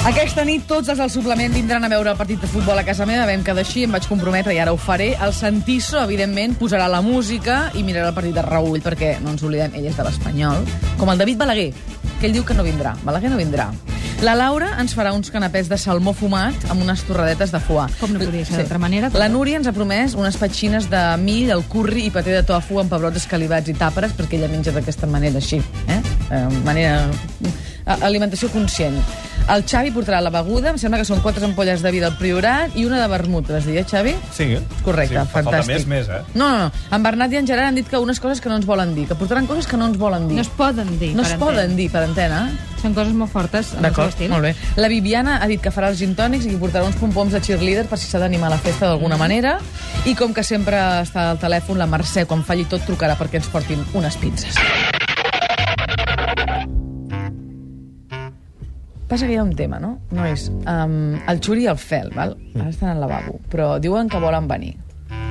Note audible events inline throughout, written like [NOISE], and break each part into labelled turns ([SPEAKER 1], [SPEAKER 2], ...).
[SPEAKER 1] Aquesta nit tots els del suplement vindran a veure el partit de futbol a casa meva, vam quedar així, em vaig comprometre i ara ho faré. El Santiso, evidentment, posarà la música i mirarà el partit de Raül, perquè no ens oblidem, ell és de l'Espanyol. Com el David Balaguer, que ell diu que no vindrà. Balaguer no vindrà. La Laura ens farà uns canapès de salmó fumat amb unes torradetes de foie.
[SPEAKER 2] Com no podia ser d'altra manera?
[SPEAKER 1] La Núria ens ha promès unes petxines de mill, el curri i paté de tofu amb pebrots escalivats i tàperes, perquè ella menja d'aquesta manera així, eh? eh? Manera... a- Alimentació conscient. El Xavi portarà la beguda, em sembla que són quatre ampolles de vi del Priorat i una de vermut, les diria, Xavi?
[SPEAKER 3] Sí, eh? sí,
[SPEAKER 1] Correcte,
[SPEAKER 3] fa Falta més,
[SPEAKER 1] fantàstic.
[SPEAKER 3] més, eh?
[SPEAKER 1] No, no, no. En Bernat i en Gerard han dit que unes coses que no ens volen dir, que portaran coses que no ens volen dir.
[SPEAKER 2] No es poden dir.
[SPEAKER 1] no es
[SPEAKER 2] per entendre.
[SPEAKER 1] poden dir per antena. eh?
[SPEAKER 2] Són coses molt fortes. en el seu
[SPEAKER 1] D'acord,
[SPEAKER 2] estil.
[SPEAKER 1] molt bé. La Viviana ha dit que farà els gintònics i que portarà uns pompoms de cheerleader per si s'ha d'animar a la festa d'alguna
[SPEAKER 2] Mhm.
[SPEAKER 1] manera. I com que sempre està al telèfon, la Mercè, quan falli tot, trucarà perquè ens portin unes pinces. Passa que hi ha un tema, no? No és... Um, el Xuri i el Fel, val? Ara estan al lavabo, però diuen que volen venir.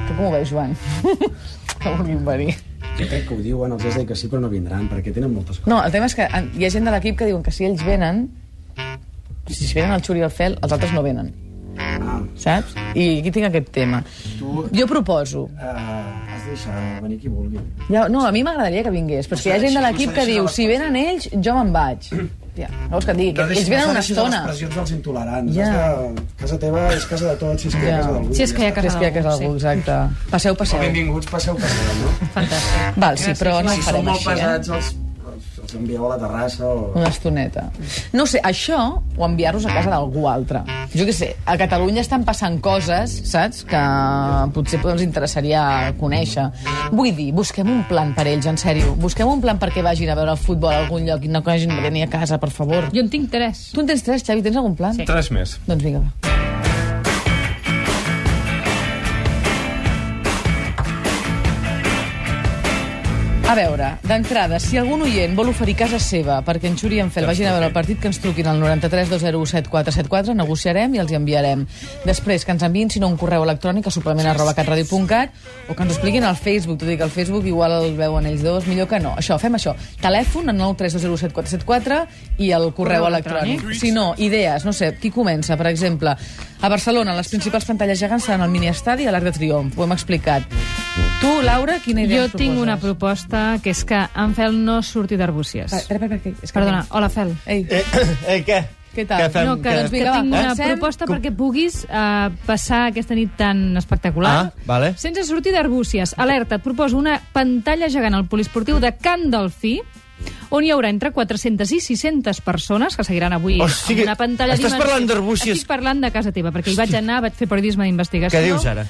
[SPEAKER 1] Tu com ho veus, Joan? [LAUGHS] que vulguin venir.
[SPEAKER 4] Jo crec que ho diuen, els has de dir que sí, però no vindran, perquè tenen moltes coses.
[SPEAKER 1] No, el tema és que en- hi ha gent de l'equip que diuen que si ells venen, si venen el Xuri i el Fel, els altres no venen.
[SPEAKER 4] Ah,
[SPEAKER 1] saps? I aquí tinc aquest tema.
[SPEAKER 4] Tu-
[SPEAKER 1] Jo proposo...
[SPEAKER 4] eh, has de deixar venir qui vulgui.
[SPEAKER 1] Ja, no, a mi m'agradaria que vingués, però és que hi ha gent de l'equip que diu si venen ells, jo me'n vaig. Ja, no vols que et digui que ells venen una estona.
[SPEAKER 4] les pressions dels intolerants.
[SPEAKER 1] Ja.
[SPEAKER 4] Has de... Casa teva és casa de tots, si és que hi
[SPEAKER 1] Ja.
[SPEAKER 4] ha casa d'algú.
[SPEAKER 2] Si és que hi ha
[SPEAKER 4] ja
[SPEAKER 2] casa
[SPEAKER 1] És que hi ha que és algú, exacte. Passeu,
[SPEAKER 4] està.
[SPEAKER 1] passeu.
[SPEAKER 4] Benvinguts, passeu per casa, no?
[SPEAKER 2] Fantàstic.
[SPEAKER 1] Val, sí, però no ho
[SPEAKER 4] si sou
[SPEAKER 1] farem
[SPEAKER 4] molt
[SPEAKER 1] així, eh?
[SPEAKER 4] pesats, els, els, els envieu a la terrassa o...
[SPEAKER 1] Una estoneta. No sé, això, o enviar-los a casa d'algú altre. Jo què sé, a Catalunya estan passant coses, saps?, que potser doncs, ens interessaria conèixer. Vull dir, busquem un plan per ells, en sèrio. Busquem un plan perquè vagin a veure el futbol a algun lloc i no que hagin de venir a casa, per favor.
[SPEAKER 2] Jo en tinc tres.
[SPEAKER 1] Tu en tens tres, Xavi, tens algun plan?
[SPEAKER 2] Sí.
[SPEAKER 3] Tres més.
[SPEAKER 1] Doncs vinga, va. A veure, d'entrada, si algun oient vol oferir casa seva perquè en Xuri i en Fel vagin a veure el partit, que ens truquin al 93 7474, negociarem i els hi enviarem. Després, que ens enviïn, si no, un correu electrònic a suplement arroba catradio.cat o que ens ho expliquin al Facebook, tot i que al Facebook igual el veuen ells dos, millor que no. Això, fem això. Telèfon al 932074474 i el correu
[SPEAKER 2] Correu
[SPEAKER 1] electrònic. Si no, idees, no sé, qui comença, per exemple? A Barcelona, les principals pantalles gegants seran al miniestadi i a l'Arc de Triomf, ho hem explicat. Tu, Laura, quina idea
[SPEAKER 2] Jo
[SPEAKER 1] ens
[SPEAKER 2] tinc una
[SPEAKER 1] proposes? Eh,
[SPEAKER 2] proposta, que és que en Fel no surti d'arbúcies.
[SPEAKER 1] Pa- Espera, espera, que- és que-
[SPEAKER 2] Perdona, hola, Fel.
[SPEAKER 1] Ei,
[SPEAKER 5] Eh, eh, què?
[SPEAKER 1] Què tal?
[SPEAKER 5] Què fem?
[SPEAKER 2] No, que,
[SPEAKER 5] Què-
[SPEAKER 2] doncs, que
[SPEAKER 1] Vinga, va,
[SPEAKER 2] tinc una
[SPEAKER 1] comencem.
[SPEAKER 2] proposta perquè puguis eh, passar aquesta nit tan espectacular
[SPEAKER 5] Ah, vale.
[SPEAKER 2] sense sortir d'arbúcies. Alerta, et proposo una pantalla gegant al poliesportiu de Can Delfí on hi haurà entre 400 i 600 persones que seguiran avui
[SPEAKER 5] O sigui,
[SPEAKER 2] amb una pantalla
[SPEAKER 5] estàs
[SPEAKER 2] dimensió-
[SPEAKER 5] parlant d'arbúcies.
[SPEAKER 2] Estic parlant de casa teva, perquè hi vaig anar, vaig fer periodisme d'investigació.
[SPEAKER 5] Què dius ara?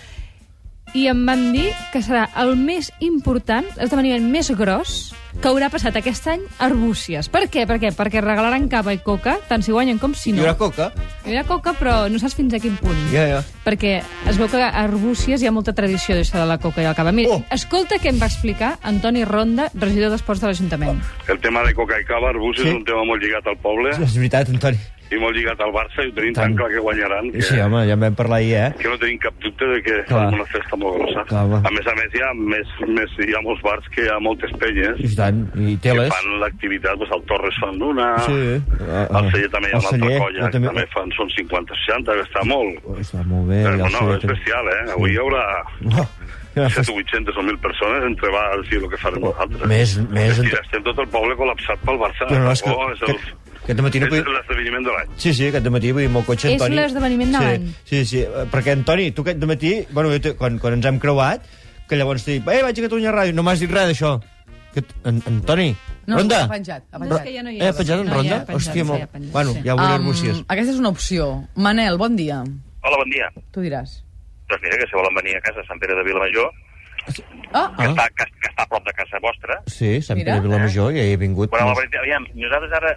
[SPEAKER 2] I em van dir que serà el més important, l'esdeveniment més gros que haurà passat aquest any a Arbúcies. Per què? Per què? Perquè regalaran cava i coca, tant si guanyen com si
[SPEAKER 5] Hi
[SPEAKER 2] no.
[SPEAKER 5] haurà coca?
[SPEAKER 2] Hi haurà coca, però no saps fins a quin punt.
[SPEAKER 5] Ja, ja.
[SPEAKER 2] Perquè es veu que a Arbúcies hi ha molta tradició d'això de la coca i el cava. Mira,
[SPEAKER 5] Oh.
[SPEAKER 2] escolta què em va explicar Antoni Ronda, regidor d'Esports de l'Ajuntament.
[SPEAKER 6] El tema de coca i cava,
[SPEAKER 5] Sí.
[SPEAKER 6] Arbúcies, sí. és un tema molt lligat al poble
[SPEAKER 5] És veritat, Antoni.
[SPEAKER 6] i molt lligat al Barça, i ho tenim
[SPEAKER 5] Tant.
[SPEAKER 6] tan, clar que guanyaran, que,
[SPEAKER 5] Sí, home, ja en vam parlar ahir, eh?
[SPEAKER 6] que no tenim cap dubte de que
[SPEAKER 5] Clar.
[SPEAKER 6] és una festa molt grossa.
[SPEAKER 5] Clar, home.
[SPEAKER 6] a més a més, hi ha, més, més, hi ha molts bars que hi ha moltes penyes
[SPEAKER 5] I tant, i
[SPEAKER 6] que
[SPEAKER 5] teles.
[SPEAKER 6] fan l'activitat, doncs, al Torres fan una,
[SPEAKER 5] Sí. Ah, ah.
[SPEAKER 6] al Celler també hi ha
[SPEAKER 5] Al
[SPEAKER 6] una altra
[SPEAKER 5] Celler,
[SPEAKER 6] colla,
[SPEAKER 5] jo també-
[SPEAKER 6] també... també fan, són 50-60, que està molt.
[SPEAKER 5] Oh, Està molt bé.
[SPEAKER 6] Però,
[SPEAKER 5] ja ho
[SPEAKER 6] no,
[SPEAKER 5] sé,
[SPEAKER 6] és
[SPEAKER 5] també.
[SPEAKER 6] bestial, eh? Avui hi haurà
[SPEAKER 5] Oh, quina
[SPEAKER 6] 700
[SPEAKER 5] festa. Oh,
[SPEAKER 6] o 800 o 1.000 persones entre bars i el que farem nosaltres.
[SPEAKER 5] més- més
[SPEAKER 6] És que
[SPEAKER 5] entre-
[SPEAKER 6] Estem tot el poble col·lapsat pel Barça.
[SPEAKER 5] Però no, és que-
[SPEAKER 6] Oh, és el...
[SPEAKER 5] que- aquest matí no
[SPEAKER 6] és
[SPEAKER 5] podia-
[SPEAKER 6] l'esdeveniment de l'any.
[SPEAKER 5] Sí, sí, aquest matí vull dir, amb el cotxe,
[SPEAKER 2] És
[SPEAKER 5] Antoni...
[SPEAKER 2] l'esdeveniment de l'any.
[SPEAKER 5] Sí, sí, sí, eh, perquè, Antoni, tu aquest matí, bueno, jo te- quan, quan ens hem creuat, que llavors t'he dit, eh, vaig a Catalunya Ràdio, no m'has dit res d'això. Que, t- en, Antoni,
[SPEAKER 1] No,
[SPEAKER 5] Ronda...
[SPEAKER 1] ha penjat, ha
[SPEAKER 2] No, és que
[SPEAKER 1] penjat.
[SPEAKER 2] ja no hi és.
[SPEAKER 5] Eh, ha penjat en
[SPEAKER 2] No, ja
[SPEAKER 5] Ronda?
[SPEAKER 2] ha penjat, sí,
[SPEAKER 5] Hòstia, molt...
[SPEAKER 2] ja ha penjat,
[SPEAKER 5] bueno,
[SPEAKER 2] sí.
[SPEAKER 5] ja veuré um... Arbúcies.
[SPEAKER 1] aquesta és una opció. Manel, bon dia.
[SPEAKER 6] Hola, bon dia.
[SPEAKER 1] Tu diràs.
[SPEAKER 6] Doncs mira, que si volen venir a casa a Sant Pere de Vilamajor,
[SPEAKER 1] Ah,
[SPEAKER 6] que,
[SPEAKER 5] Ah.
[SPEAKER 6] està, que, que està a prop de casa vostra...
[SPEAKER 5] Sí, Sant
[SPEAKER 1] Mira.
[SPEAKER 5] Pere Vilamajor, ja hi he vingut. Doncs
[SPEAKER 6] Bueno, la veritat, aviam, nosaltres ara...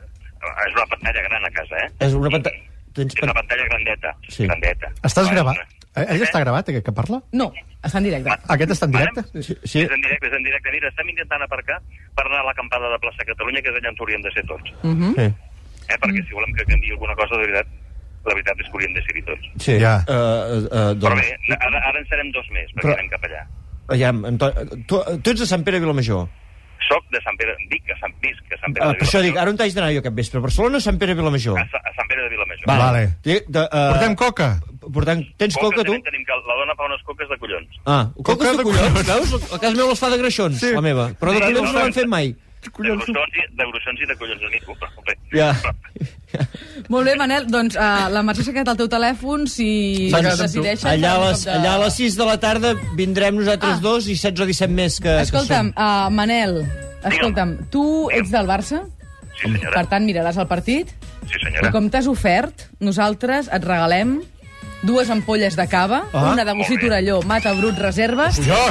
[SPEAKER 6] És una pantalla gran a casa, eh?
[SPEAKER 5] És una pantalla... Tens
[SPEAKER 6] És una pantalla grandeta.
[SPEAKER 5] eh. Sí.
[SPEAKER 6] grandeta. doncs,
[SPEAKER 7] Estàs
[SPEAKER 6] Bueno,
[SPEAKER 7] gravat? Eh, Ell està gravat, aquest que parla?
[SPEAKER 1] no, està en directe.
[SPEAKER 7] Aquest està en directe?
[SPEAKER 5] Sí, sí.
[SPEAKER 6] doncs, És en directe, és en directe. Mira, estem intentant aparcar per anar a l'acampada de plaça Catalunya, que és allà on hauríem de ser tots.
[SPEAKER 1] Uh -huh.
[SPEAKER 7] Mm?
[SPEAKER 5] sí.
[SPEAKER 6] Eh?
[SPEAKER 5] Mm.
[SPEAKER 6] Perquè si volem que canviï alguna cosa, de veritat, la veritat és que hauríem de ser-hi tots.
[SPEAKER 5] sí.
[SPEAKER 7] Ja.
[SPEAKER 5] Eh, eh, eh,
[SPEAKER 6] Però
[SPEAKER 5] doncs,
[SPEAKER 6] bé, ara, ara en serem dos més, perquè
[SPEAKER 5] Però-
[SPEAKER 6] anem cap allà.
[SPEAKER 5] aviam, Antoni, tu, tu ets de Sant Pere Vilamajor.
[SPEAKER 6] soc de Sant Pere, dic que Sant Pere, que Sant Pere
[SPEAKER 5] Ah,
[SPEAKER 6] de
[SPEAKER 5] per això
[SPEAKER 6] Vilamajor.
[SPEAKER 5] dic, ara on t'haig d'anar jo aquest vespre? A Barcelona o Sant Pere Vilamajor?
[SPEAKER 6] A, Sa- a Sant Pere de Vilamajor.
[SPEAKER 7] Vale.
[SPEAKER 5] De, de, uh,
[SPEAKER 7] Portem coca.
[SPEAKER 5] Portant... Tens
[SPEAKER 6] Coques
[SPEAKER 5] coca, tu?
[SPEAKER 6] també Tenim que la dona fa unes coques de collons.
[SPEAKER 5] Ah, coques
[SPEAKER 7] Coca
[SPEAKER 5] de
[SPEAKER 7] de
[SPEAKER 5] collons,
[SPEAKER 7] collons.
[SPEAKER 5] veus? A casa meu les fa de greixons,
[SPEAKER 7] Sí.
[SPEAKER 5] la meva. Però de
[SPEAKER 6] Sí,
[SPEAKER 5] collons
[SPEAKER 6] no,
[SPEAKER 5] no l'han
[SPEAKER 6] no.
[SPEAKER 5] fet mai.
[SPEAKER 6] De grossons i de, grossons i de collons de mico. Però, bé.
[SPEAKER 5] Ja.
[SPEAKER 1] Molt bé, Manel, doncs uh, la Mercè s'ha quedat al teu telèfon, si
[SPEAKER 7] S'ha quedat amb tu.
[SPEAKER 1] decideixes...
[SPEAKER 5] Doncs,
[SPEAKER 1] doncs,
[SPEAKER 5] Allà a,
[SPEAKER 1] farem un
[SPEAKER 5] les,
[SPEAKER 1] cop de-
[SPEAKER 5] allà a les 6 de la tarda vindrem nosaltres
[SPEAKER 1] Ah.
[SPEAKER 5] dos i 16 o 17 més que,
[SPEAKER 1] Escolta'm,
[SPEAKER 5] que
[SPEAKER 1] uh, Manel, escolta'm, tu ets del Barça,
[SPEAKER 6] Sí, senyora.
[SPEAKER 1] per tant miraràs el partit,
[SPEAKER 6] Sí,
[SPEAKER 1] i
[SPEAKER 6] senyora.
[SPEAKER 1] com t'has ofert, nosaltres et regalem dues ampolles de cava, ah, una de Gossi
[SPEAKER 6] molt bé.
[SPEAKER 1] Torelló, Mata Brut Reserva,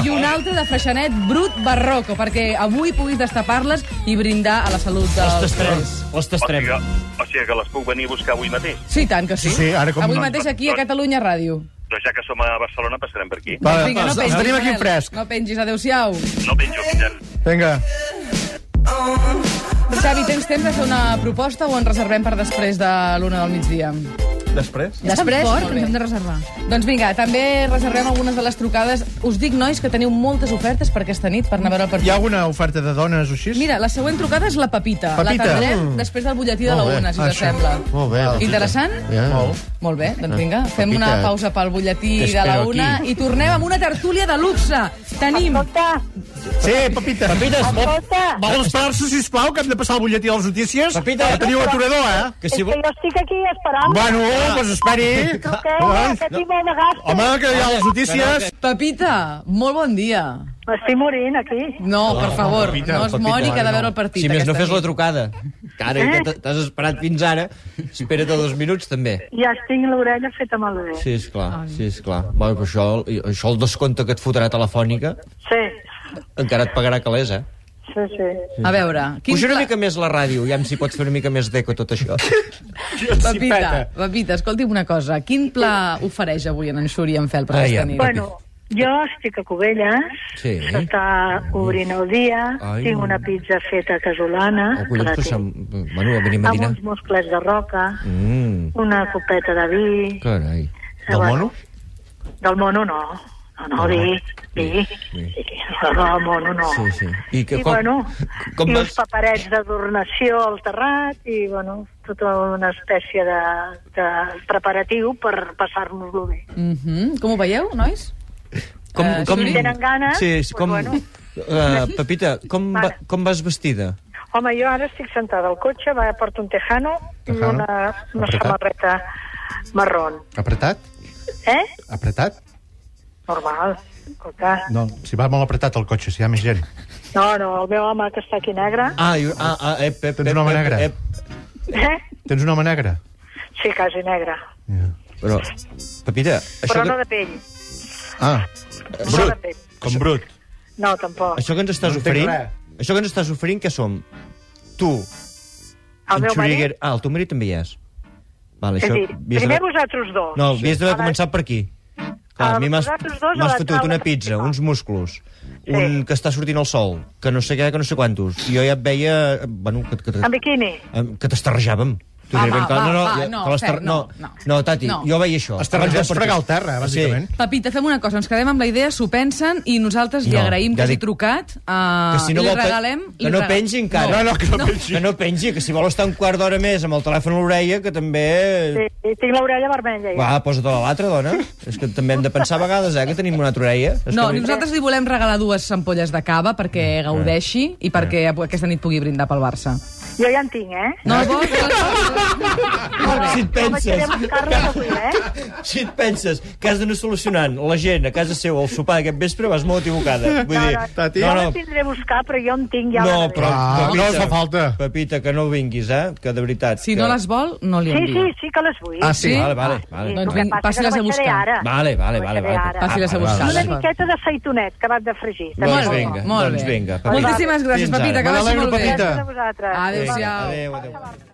[SPEAKER 1] i una altra de Freixenet Brut Barroco, perquè avui puguis destapar-les i brindar a la salut
[SPEAKER 5] som.
[SPEAKER 1] dels
[SPEAKER 5] Les tastarem,
[SPEAKER 1] tres.
[SPEAKER 5] les
[SPEAKER 6] O sigui,
[SPEAKER 5] tastarem.
[SPEAKER 6] que- o sigui que les puc venir a buscar avui mateix.
[SPEAKER 1] Sí, i tant que sí.
[SPEAKER 7] Sí, sí, ara com
[SPEAKER 1] Avui
[SPEAKER 7] no.
[SPEAKER 1] mateix aquí a Catalunya Ràdio.
[SPEAKER 6] Doncs ja que som a Barcelona, passarem per aquí.
[SPEAKER 7] Va,
[SPEAKER 1] Doncs vinga, no
[SPEAKER 7] els- els
[SPEAKER 1] pengis,
[SPEAKER 7] tenim aquí
[SPEAKER 1] Manel.
[SPEAKER 7] fresc.
[SPEAKER 1] No pengis, adeu-siau.
[SPEAKER 6] No penjo mitjans.
[SPEAKER 7] Vinga.
[SPEAKER 1] Xavi, tens temps de fer una proposta o en reservem per després de l'una del migdia?
[SPEAKER 7] Després?
[SPEAKER 2] És tan
[SPEAKER 1] Després,
[SPEAKER 2] fort
[SPEAKER 1] molt
[SPEAKER 2] que ens
[SPEAKER 1] bé.
[SPEAKER 2] hem de reservar.
[SPEAKER 1] Doncs vinga, també reservem algunes de les trucades. Us dic, nois, que teniu moltes ofertes per aquesta nit, per anar a veure el
[SPEAKER 7] Hi
[SPEAKER 1] partit.
[SPEAKER 7] ha alguna oferta de dones o així?
[SPEAKER 1] Mira, la següent trucada és la Pepita.
[SPEAKER 7] Pepita.
[SPEAKER 1] La tindrem
[SPEAKER 7] Mm.
[SPEAKER 1] després del butlletí de la
[SPEAKER 3] Molt bé.
[SPEAKER 1] una, si
[SPEAKER 7] Ah,
[SPEAKER 1] us
[SPEAKER 7] això.
[SPEAKER 1] sembla.
[SPEAKER 3] Molt bé. Pepita.
[SPEAKER 1] Interessant?
[SPEAKER 3] Ja. Ah,
[SPEAKER 7] Molt.
[SPEAKER 1] Molt bé, doncs vinga, fem
[SPEAKER 3] Pepita,
[SPEAKER 1] una pausa pel butlletí de la
[SPEAKER 3] t'espero
[SPEAKER 1] una
[SPEAKER 3] aquí.
[SPEAKER 1] i tornem amb una tertúlia de luxe. Tenim...
[SPEAKER 8] Escolta,
[SPEAKER 7] Sí, Pepita.
[SPEAKER 5] Papites, vol-
[SPEAKER 8] escolta,
[SPEAKER 7] Vols esperar-se, sisplau, que hem de passar el butlletí de les notícies?
[SPEAKER 5] Pepita.
[SPEAKER 7] La teniu aturador, eh?
[SPEAKER 5] que
[SPEAKER 8] és
[SPEAKER 5] si
[SPEAKER 8] que
[SPEAKER 5] vol...
[SPEAKER 8] jo estic aquí esperant.
[SPEAKER 7] Bueno,
[SPEAKER 3] Ah.
[SPEAKER 7] doncs pues esperi. Doncs,
[SPEAKER 8] No, que, no, que tinc molt de gasta.
[SPEAKER 7] Home, que hi ha les notícies.
[SPEAKER 1] Pepita, molt bon dia.
[SPEAKER 8] M'estic morint aquí.
[SPEAKER 1] No, per favor,
[SPEAKER 5] Pepita,
[SPEAKER 1] no es
[SPEAKER 5] Pepita,
[SPEAKER 1] mori, que ha de
[SPEAKER 5] no.
[SPEAKER 1] veure el partit.
[SPEAKER 5] Si més no
[SPEAKER 1] aquesta
[SPEAKER 5] fes la
[SPEAKER 1] nit. Eh?
[SPEAKER 5] trucada. Cara, que t- t'has esperat fins ara, espera't a dos minuts, també.
[SPEAKER 8] Ja tinc l'orella feta malbé. Sí.
[SPEAKER 5] Sí, és clar, sí, és clar. Bueno, però això, això el descompte que et fotrà telefònica
[SPEAKER 8] sí,
[SPEAKER 5] encara et pagarà calés, eh?
[SPEAKER 8] sí, sí.
[SPEAKER 1] A veure, quin
[SPEAKER 5] Puja una
[SPEAKER 1] pla...
[SPEAKER 5] mica més la ràdio, ja si pots fer una mica més d'eco tot
[SPEAKER 1] [LAUGHS]
[SPEAKER 5] això.
[SPEAKER 1] Pepita, Pepita, escolti'm una cosa. Quin pla ofereix avui en Xuri i en Fel per
[SPEAKER 5] Ai,
[SPEAKER 1] aquesta
[SPEAKER 5] ja.
[SPEAKER 1] nit?
[SPEAKER 8] Bueno, jo estic a Cubelles,
[SPEAKER 5] Sí.
[SPEAKER 8] s'està obrint el dia,
[SPEAKER 5] Ai.
[SPEAKER 8] tinc una pizza feta casolana,
[SPEAKER 5] Oh, collons, que se'm... Bueno, venim a
[SPEAKER 8] amb
[SPEAKER 5] dinar.
[SPEAKER 8] uns musclets de roca,
[SPEAKER 5] Mm,
[SPEAKER 8] una copeta de vi...
[SPEAKER 5] carai.
[SPEAKER 8] Del mono? Del mono no, no, no, vi, vi,
[SPEAKER 5] vi.
[SPEAKER 8] sí, no, del mono no.
[SPEAKER 5] Sí, sí. I, que,
[SPEAKER 8] I, com, bueno,
[SPEAKER 5] com
[SPEAKER 8] i
[SPEAKER 5] vas...
[SPEAKER 8] uns paperets d'adornació al terrat i, bueno, tota una espècie de, de preparatiu per passar-nos-lo bé.
[SPEAKER 1] Mhm. Com ho veieu, nois?
[SPEAKER 5] Com,
[SPEAKER 1] Eh,
[SPEAKER 5] com...
[SPEAKER 8] si tenen ganes,
[SPEAKER 5] sí,
[SPEAKER 8] doncs
[SPEAKER 5] és com...
[SPEAKER 8] bueno.
[SPEAKER 5] Uh, Pepita, com, va,
[SPEAKER 8] Vale.
[SPEAKER 5] com vas vestida?
[SPEAKER 8] Home, jo ara estic sentada al cotxe, va, porto un tejano,
[SPEAKER 7] Tejano.
[SPEAKER 8] i una, una
[SPEAKER 7] Apretat.
[SPEAKER 8] samarreta marrón.
[SPEAKER 7] Apretat?
[SPEAKER 8] Eh?
[SPEAKER 7] Apretat?
[SPEAKER 8] Normal. Escolta.
[SPEAKER 7] No, si va molt apretat el cotxe, si hi ha més gent.
[SPEAKER 8] No, no, el meu home que està aquí negre,
[SPEAKER 5] Ah, i- ah, ah ep, ep,
[SPEAKER 7] Tens
[SPEAKER 5] ep,
[SPEAKER 7] un home
[SPEAKER 5] ep,
[SPEAKER 7] negre.
[SPEAKER 5] ep.
[SPEAKER 8] eh?
[SPEAKER 7] Tens un home negre?
[SPEAKER 8] sí, quasi negre,
[SPEAKER 7] Ja.
[SPEAKER 5] Però, Pepita, això,
[SPEAKER 8] però no
[SPEAKER 5] que,
[SPEAKER 8] de pell.
[SPEAKER 7] Ah,
[SPEAKER 8] No de pell.
[SPEAKER 7] com brut.
[SPEAKER 8] No, tampoc.
[SPEAKER 5] això que ens estàs
[SPEAKER 7] No entenc
[SPEAKER 5] oferint...
[SPEAKER 7] res.
[SPEAKER 5] Això que ens estàs oferint, què som? Tu,
[SPEAKER 8] El meu marit,
[SPEAKER 5] Xuriguer- Ah, el teu marit també hi és. Vale,
[SPEAKER 8] és a dir,
[SPEAKER 5] havies
[SPEAKER 8] primer
[SPEAKER 5] d'haver-
[SPEAKER 8] vosaltres dos.
[SPEAKER 5] No, havies d'haver
[SPEAKER 8] Ara-
[SPEAKER 5] començat per aquí. Clar, a mi m'has
[SPEAKER 8] vosaltres Ah, dos a
[SPEAKER 5] m'has
[SPEAKER 8] la
[SPEAKER 5] fotut
[SPEAKER 8] taula
[SPEAKER 5] una pizza,
[SPEAKER 8] principal.
[SPEAKER 5] uns musclos, un que està sortint al sol, que no sé què, que no sé quantos. I jo ja et veia... eh, Bueno, que, que,
[SPEAKER 8] En biquini.
[SPEAKER 5] em- que t'estarrejàvem. T'ho diré
[SPEAKER 1] Va,
[SPEAKER 5] ben
[SPEAKER 1] Ah, va,
[SPEAKER 5] clar.
[SPEAKER 1] va, va,
[SPEAKER 5] ja-
[SPEAKER 1] no,
[SPEAKER 5] que l'ester-
[SPEAKER 1] Fer,
[SPEAKER 5] no,
[SPEAKER 1] no, no.
[SPEAKER 5] no, Tati,
[SPEAKER 1] No.
[SPEAKER 5] jo veia això.
[SPEAKER 7] Estarrejàvem
[SPEAKER 5] Abans del
[SPEAKER 7] per
[SPEAKER 5] partit.
[SPEAKER 7] fregar el terra, bàsicament.
[SPEAKER 5] Sí.
[SPEAKER 1] Pepita, fem una cosa, ens quedem amb la idea, s'ho pensen i nosaltres li
[SPEAKER 5] No,
[SPEAKER 1] agraïm
[SPEAKER 5] ja
[SPEAKER 1] que hagi
[SPEAKER 5] dic-
[SPEAKER 1] trucat. Uh,
[SPEAKER 5] Que si no
[SPEAKER 1] li
[SPEAKER 5] vol pe-
[SPEAKER 1] regalem...
[SPEAKER 5] que
[SPEAKER 1] li
[SPEAKER 5] no
[SPEAKER 1] rega-
[SPEAKER 5] pengi encara.
[SPEAKER 7] No, no, que no, pensi.
[SPEAKER 5] Que no pengi, que si vol estar un quart d'hora més amb el telèfon a l'orella, que també...
[SPEAKER 8] Sí, tinc l'orella vermella. Ja.
[SPEAKER 5] Va, posa-te-la a l'altra, dona. És que també hem de pensar a vegades, eh, que tenim una altra orella. És
[SPEAKER 1] No,
[SPEAKER 5] que... Mm, eh,
[SPEAKER 1] nosaltres li volem regalar dues ampolles de cava perquè gaudeixi i perquè aquesta nit pugui brindar pel Barça.
[SPEAKER 8] Jo ja en tinc, eh?
[SPEAKER 1] No el vols? No el
[SPEAKER 5] [LAUGHS]
[SPEAKER 1] vols?
[SPEAKER 5] Si et
[SPEAKER 8] Jo vaig
[SPEAKER 5] penses...
[SPEAKER 8] quedar amb Carles avui, eh?
[SPEAKER 5] [LAUGHS] Si et penses que has d'anar solucionant la gent a casa seu al sopar d'aquest vespre, vas molt equivocada. Vull dir,
[SPEAKER 7] Tati.
[SPEAKER 8] Jo
[SPEAKER 5] no,
[SPEAKER 8] la
[SPEAKER 5] no,
[SPEAKER 8] tindré a buscar, però jo en tinc ja.
[SPEAKER 5] no,
[SPEAKER 8] la
[SPEAKER 5] però...
[SPEAKER 7] Ah, no fa falta.
[SPEAKER 5] Pepita, que no vinguis, eh? Que de veritat...
[SPEAKER 1] Si
[SPEAKER 5] que...
[SPEAKER 1] no les vol, no li
[SPEAKER 8] Sí,
[SPEAKER 1] envia.
[SPEAKER 8] sí, sí que les vull.
[SPEAKER 7] Ah, sí?
[SPEAKER 5] Vale, vale, vale.
[SPEAKER 8] Sí,
[SPEAKER 1] Doncs
[SPEAKER 8] el que
[SPEAKER 1] vinga,
[SPEAKER 8] passa és que
[SPEAKER 1] passi-les a
[SPEAKER 8] no baixaré
[SPEAKER 1] buscar.
[SPEAKER 8] Ara.
[SPEAKER 5] Vale, vale,
[SPEAKER 8] No
[SPEAKER 5] vale.
[SPEAKER 8] baixaré
[SPEAKER 5] vale.
[SPEAKER 8] ara.
[SPEAKER 1] Passi-les a
[SPEAKER 5] vale,
[SPEAKER 1] buscar.
[SPEAKER 8] I una
[SPEAKER 5] vale.
[SPEAKER 1] Vale.
[SPEAKER 8] miqueta de feitonet que acabat de fregir. també.
[SPEAKER 5] Doncs
[SPEAKER 1] Molt bé,
[SPEAKER 5] vinga,
[SPEAKER 1] molt
[SPEAKER 5] doncs
[SPEAKER 1] bé.
[SPEAKER 5] vinga. Pepita.
[SPEAKER 1] Moltíssimes gràcies,
[SPEAKER 5] Fins ara.
[SPEAKER 1] Pepita, que
[SPEAKER 7] Me
[SPEAKER 1] vagi
[SPEAKER 7] n'alegro,
[SPEAKER 1] molt bé.
[SPEAKER 7] Pepita.
[SPEAKER 8] Gràcies a vosaltres.
[SPEAKER 1] Adéu-siau.
[SPEAKER 5] Adéu, adéu.